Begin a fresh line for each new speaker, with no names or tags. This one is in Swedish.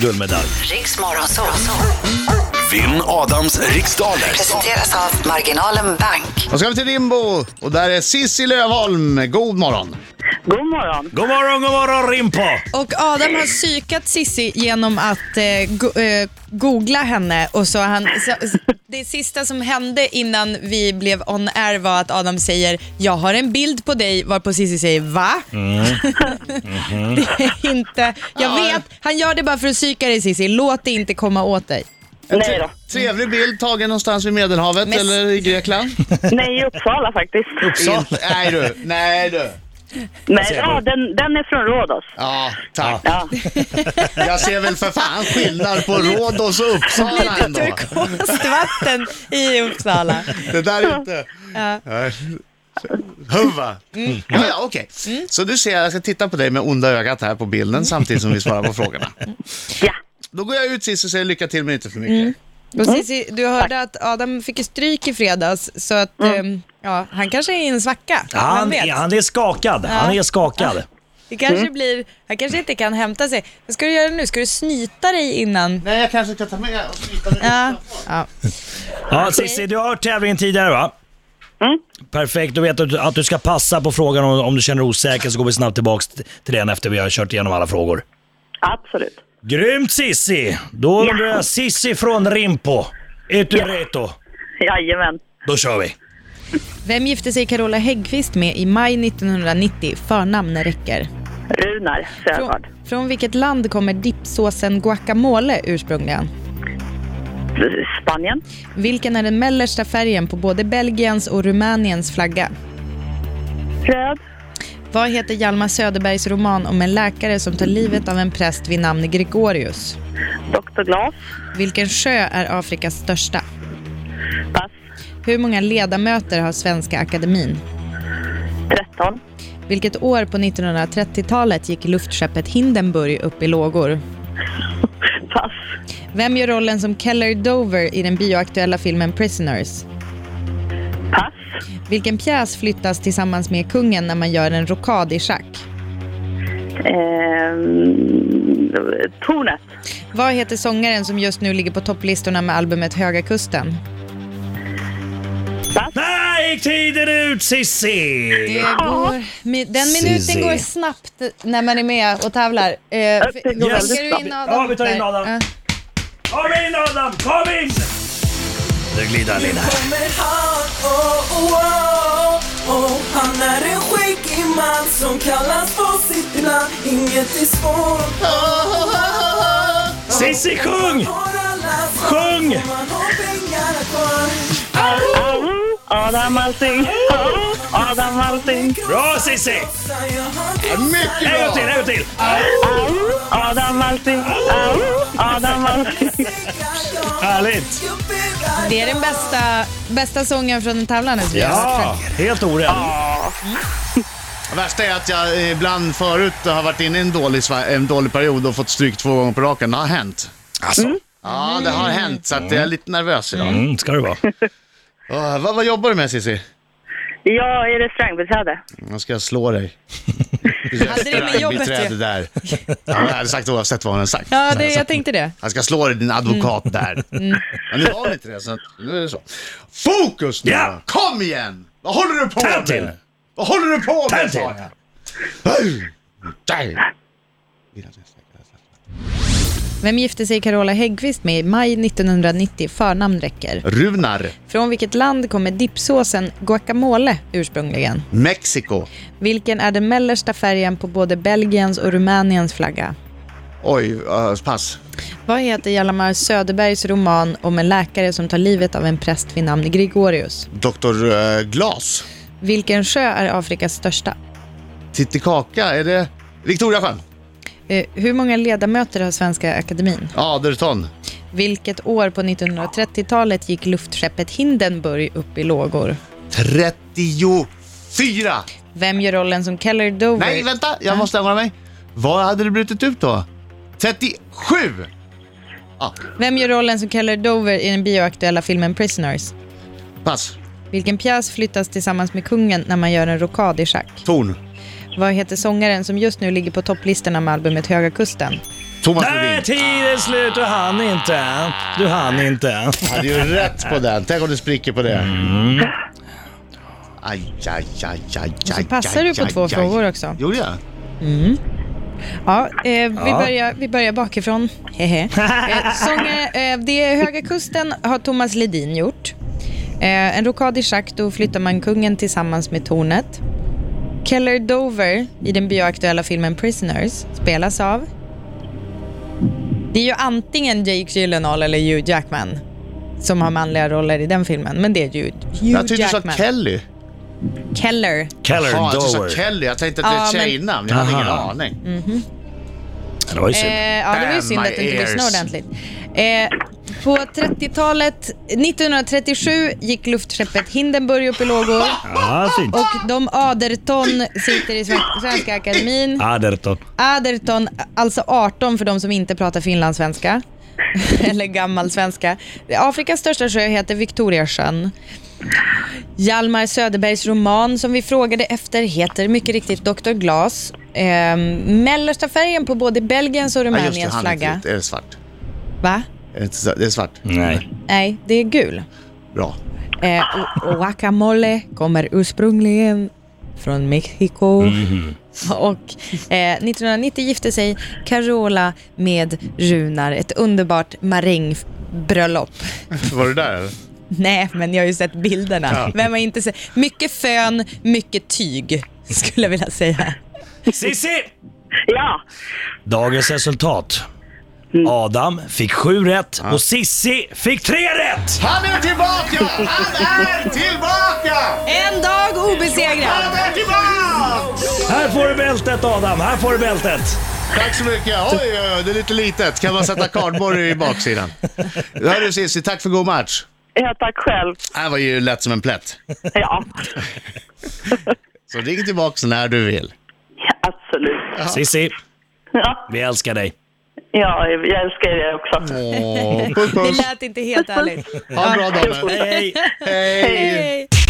guldmedalj.
Riksmorgon så, så
Vinn Adams riksdaler.
presenteras av Marginalen Bank.
Då ska vi till Rimbo och där är Sissi Lövholm. God morgon!
God morgon.
God morgon, god morgon Rimpo!
Och Adam har psykat Sissi genom att eh, go- eh, googla henne och så har han, så, det sista som hände innan vi blev on air var att Adam säger “jag har en bild på dig” varpå Sissi säger “va?” Det är inte, jag vet, han gör det bara för att psyka dig Sissi, låt det inte komma åt dig.
Nej då.
Trevlig bild tagen någonstans vid Medelhavet
Men-
eller i Grekland?
Nej, i Uppsala faktiskt.
In- nej du, nej du.
Nej, ja, den, den är från Rhodos.
Ja, tack.
Ja.
Jag ser väl för fan skillnad på Rhodos och Uppsala
Lite
ändå.
turkost vatten i Uppsala.
Det där är inte... Nej. Huva.
Mm.
Ja, ja, okej. Så du ser, jag ska titta på dig med onda ögat här på bilden samtidigt som vi svarar på frågorna.
ja. Mm.
Då går jag ut sist och säger lycka till men inte för mycket.
Och Cissi, du hörde att Adam fick ju stryk i fredags, så att ehm, ja, han kanske är i en svacka. Vem
Han,
vet?
han är skakad, han är skakad.
Det kanske blir, han kanske inte kan hämta sig. Vad ska du göra nu? Ska du snyta dig innan?
Nej, jag kanske ska ta med och knyta den
Ja. ja.
Ja, Cissi, du har hört tävlingen tidigare va?
Mm.
Perfekt, du vet att du- att du ska passa på frågan om, om du känner dig osäker så går vi snabbt tillbaks t- till den efter vi har kört igenom alla frågor.
Absolut.
Grymt Sissi! Då undrar jag, Sissi från Rimpo, är du redo?
Jajamän.
Då kör vi!
Vem gifte sig Carola Häggkvist med i maj 1990? Förnamn räcker.
Runar
Från,
Sögaard.
från vilket land kommer dippsåsen guacamole ursprungligen?
Spanien.
Vilken är den mellersta färgen på både Belgiens och Rumäniens flagga?
Röd.
Vad heter Hjalmar Söderbergs roman om en läkare som tar livet av en präst vid namn Gregorius?
Dr. Glas.
Vilken sjö är Afrikas största?
Pass.
Hur många ledamöter har Svenska Akademin?
13.
Vilket år på 1930-talet gick luftskeppet Hindenburg upp i lågor?
Pass.
Vem gör rollen som Keller Dover i den bioaktuella filmen Prisoners?
Pass.
Vilken pjäs flyttas tillsammans med kungen när man gör en rokad i schack?
Ehm, tornet.
Vad heter sångaren som just nu ligger på topplistorna med albumet Höga Kusten?
Pass.
Där gick tiden ut Sissi!
går, mi- den
Sissi.
minuten går snabbt när man är med och tävlar. Eh, för-
det går
skickar
väldigt
du
snabbt.
in
Ja, vi tar in
där?
Adam.
Ja.
Kom in Adam, kom in! Nu glider han in här.
kommer han, oh, oh, oh, oh. Han är en skäggig man som kallas på sitt namn Inget är svårt,
Sissi sjung!
har alla svar
Sjung!
Om man har pengarna kvar
Au, Adam Alsing. Au, Adam Alsing.
Bra Sissi!
Så jag har
Mycket
En gång
bra!
till, en gång till!
Au, Adam Alsing. Au, Adam Alsing.
Härligt!
Det är den bästa, bästa sången från en tävlande som vi har hört
Ja, helt orädd.
Det värsta är att jag ibland förut har varit inne i en dålig, sva- en dålig period och fått stryk två gånger på raken. Det har hänt.
Alltså,
Mm.
Ja, det har hänt, så att jag är lite nervös idag.
Mm, ska det vara.
Åh, vad, vad jobbar du med Cissi?
Jag är restaurangbiträde.
Jag ska slå dig.
Hade det med jobbet
Biträde
ju.
där. Jag hade sagt oavsett vad hon hade sagt.
Ja, Mm. det, jag tänkte det.
Jag ska slå dig, din advokat där. Men nu var det inte det, så att- nu är det så. Fokus nu!
Ja.
Kom igen! Vad håller du på
Tänd
med?
till.
Vad håller du på
Tänd
med,
till.
sa jag. Hej! Där.
Vem gifte sig Carola Häggkvist med i maj 1990? Förnamn räcker.
Runar,
Från vilket land kommer dippsåsen guacamole ursprungligen?
Mexiko.
Vilken är den mellersta färgen på både Belgiens och Rumäniens flagga?
Oj, eh, pass.
Vad heter Hjalmar Söderbergs roman om en läkare som tar livet av en präst vid namn Gregorius?
Dr. eh, Glas.
Vilken sjö är Afrikas största?
Titicaca, är det Victoriasjön?
Eh, hur många ledamöter har Svenska Akademin?
Aderton.
Vilket år på 1930-talet gick luftskeppet Hindenburg upp i lågor?
34.
Vem gör rollen som Keller Dover?
Nej, vänta, jag måste ändra mig. Vad hade det brutit ut då? 37!
Vem gör rollen som Keller Dover i den bioaktuella filmen Prisoners?
Pass.
Vilken pjäs flyttas tillsammans med kungen när man gör en rokad i schack?
Torn.
Vad heter sångaren som just nu ligger på topplistorna med albumet Höga Kusten?
Thomas
Där är
Ledin.
tiden slut, du hann inte. Du hann inte.
hade ju rätt på den. Tänk om du spricker på det.
Mm.
Aj, aj, aj, aj, aj,
passar
aj,
du på
aj,
två
aj.
frågor också.
Gjorde jag?
Ja, eh, vi, Börjar, vi börjar bakifrån. Hehe. eh, sånger, eh, det är Höga Kusten har Thomas Ledin gjort. Eh, en rokad i schack, då flyttar man kungen tillsammans med tornet. Keller Dover i den bioaktuella filmen Prisoners spelas av... Det är ju antingen Jake Gyllenhaal eller Hugh Jackman som har manliga roller i den filmen, men det är ju Hugh
Jag tyckte du sa
Jackman.
Kelly.
Keller.
Keller
Jaha, jag tyckte du sa
Dower.
Kelly. Jag tänkte att det är ett
Ja,
tjejnamn.
men- Mm,
Jag hade ingen
Aha.
aning.
Det var ju synd.
Eh, ja, det var ju
Damn
synd att du
my
inte lyssnade
ears.
ordentligt. Eh, på 30-talet, 1937, gick luftskeppet Hindenburg upp i lågor
Ja, fint.
och de Aderton sitter i Sve- Svenska Akademin.
Aderton.
Aderton, alltså 18 för de som inte pratar finlandssvenska. Eller gammal svenska. Afrikas största sjö heter Victoriasjön. Hjalmar Söderbergs roman som vi frågade efter heter mycket riktigt Dr. Glas. Ehm, mellersta färgen på både Belgiens och
Ja, just det,
Rumäniens
han är inte
flagga.
vit. Är det svart?
Va?
Är det inte så- Det är svart.
Nej.
Nej, det är gul.
Bra.
Eh, och- och guacamole kommer ursprungligen från Mexiko. Och eh, 1990 gifte sig Carola med Runar, ett underbart marängbröllop.
Var du där eller?
Nej, men jag har ju sett bilderna. Vem har inte sett? Mycket fön, mycket tyg, skulle jag vilja säga.
Sissi!
Ja.
Dagens resultat. Adam fick sju rätt och Sissi fick tre rätt!
Han är tillbaka! Han är tillbaka!
En dag obesegrad!
Han är tillbaka!
Här får du bältet Adam, här får du bältet.
Tack så mycket. Oj, oj, oj, det är lite litet. Kan man sätta kardborre i baksidan? Hörru Cissi, tack för god match.
ja, tack själv.
Det här var ju lätt som en plätt.
Ja,
Så ring tillbaka när du vill.
absolut.
Sissi,
Ja, Mm.
vi älskar dig.
ja, jag älskar er också.
Åh, puss
Det
puss.
lät inte helt ärligt.
Ha en bra dag. nu.
Hej, hej.
Hej.
Hej.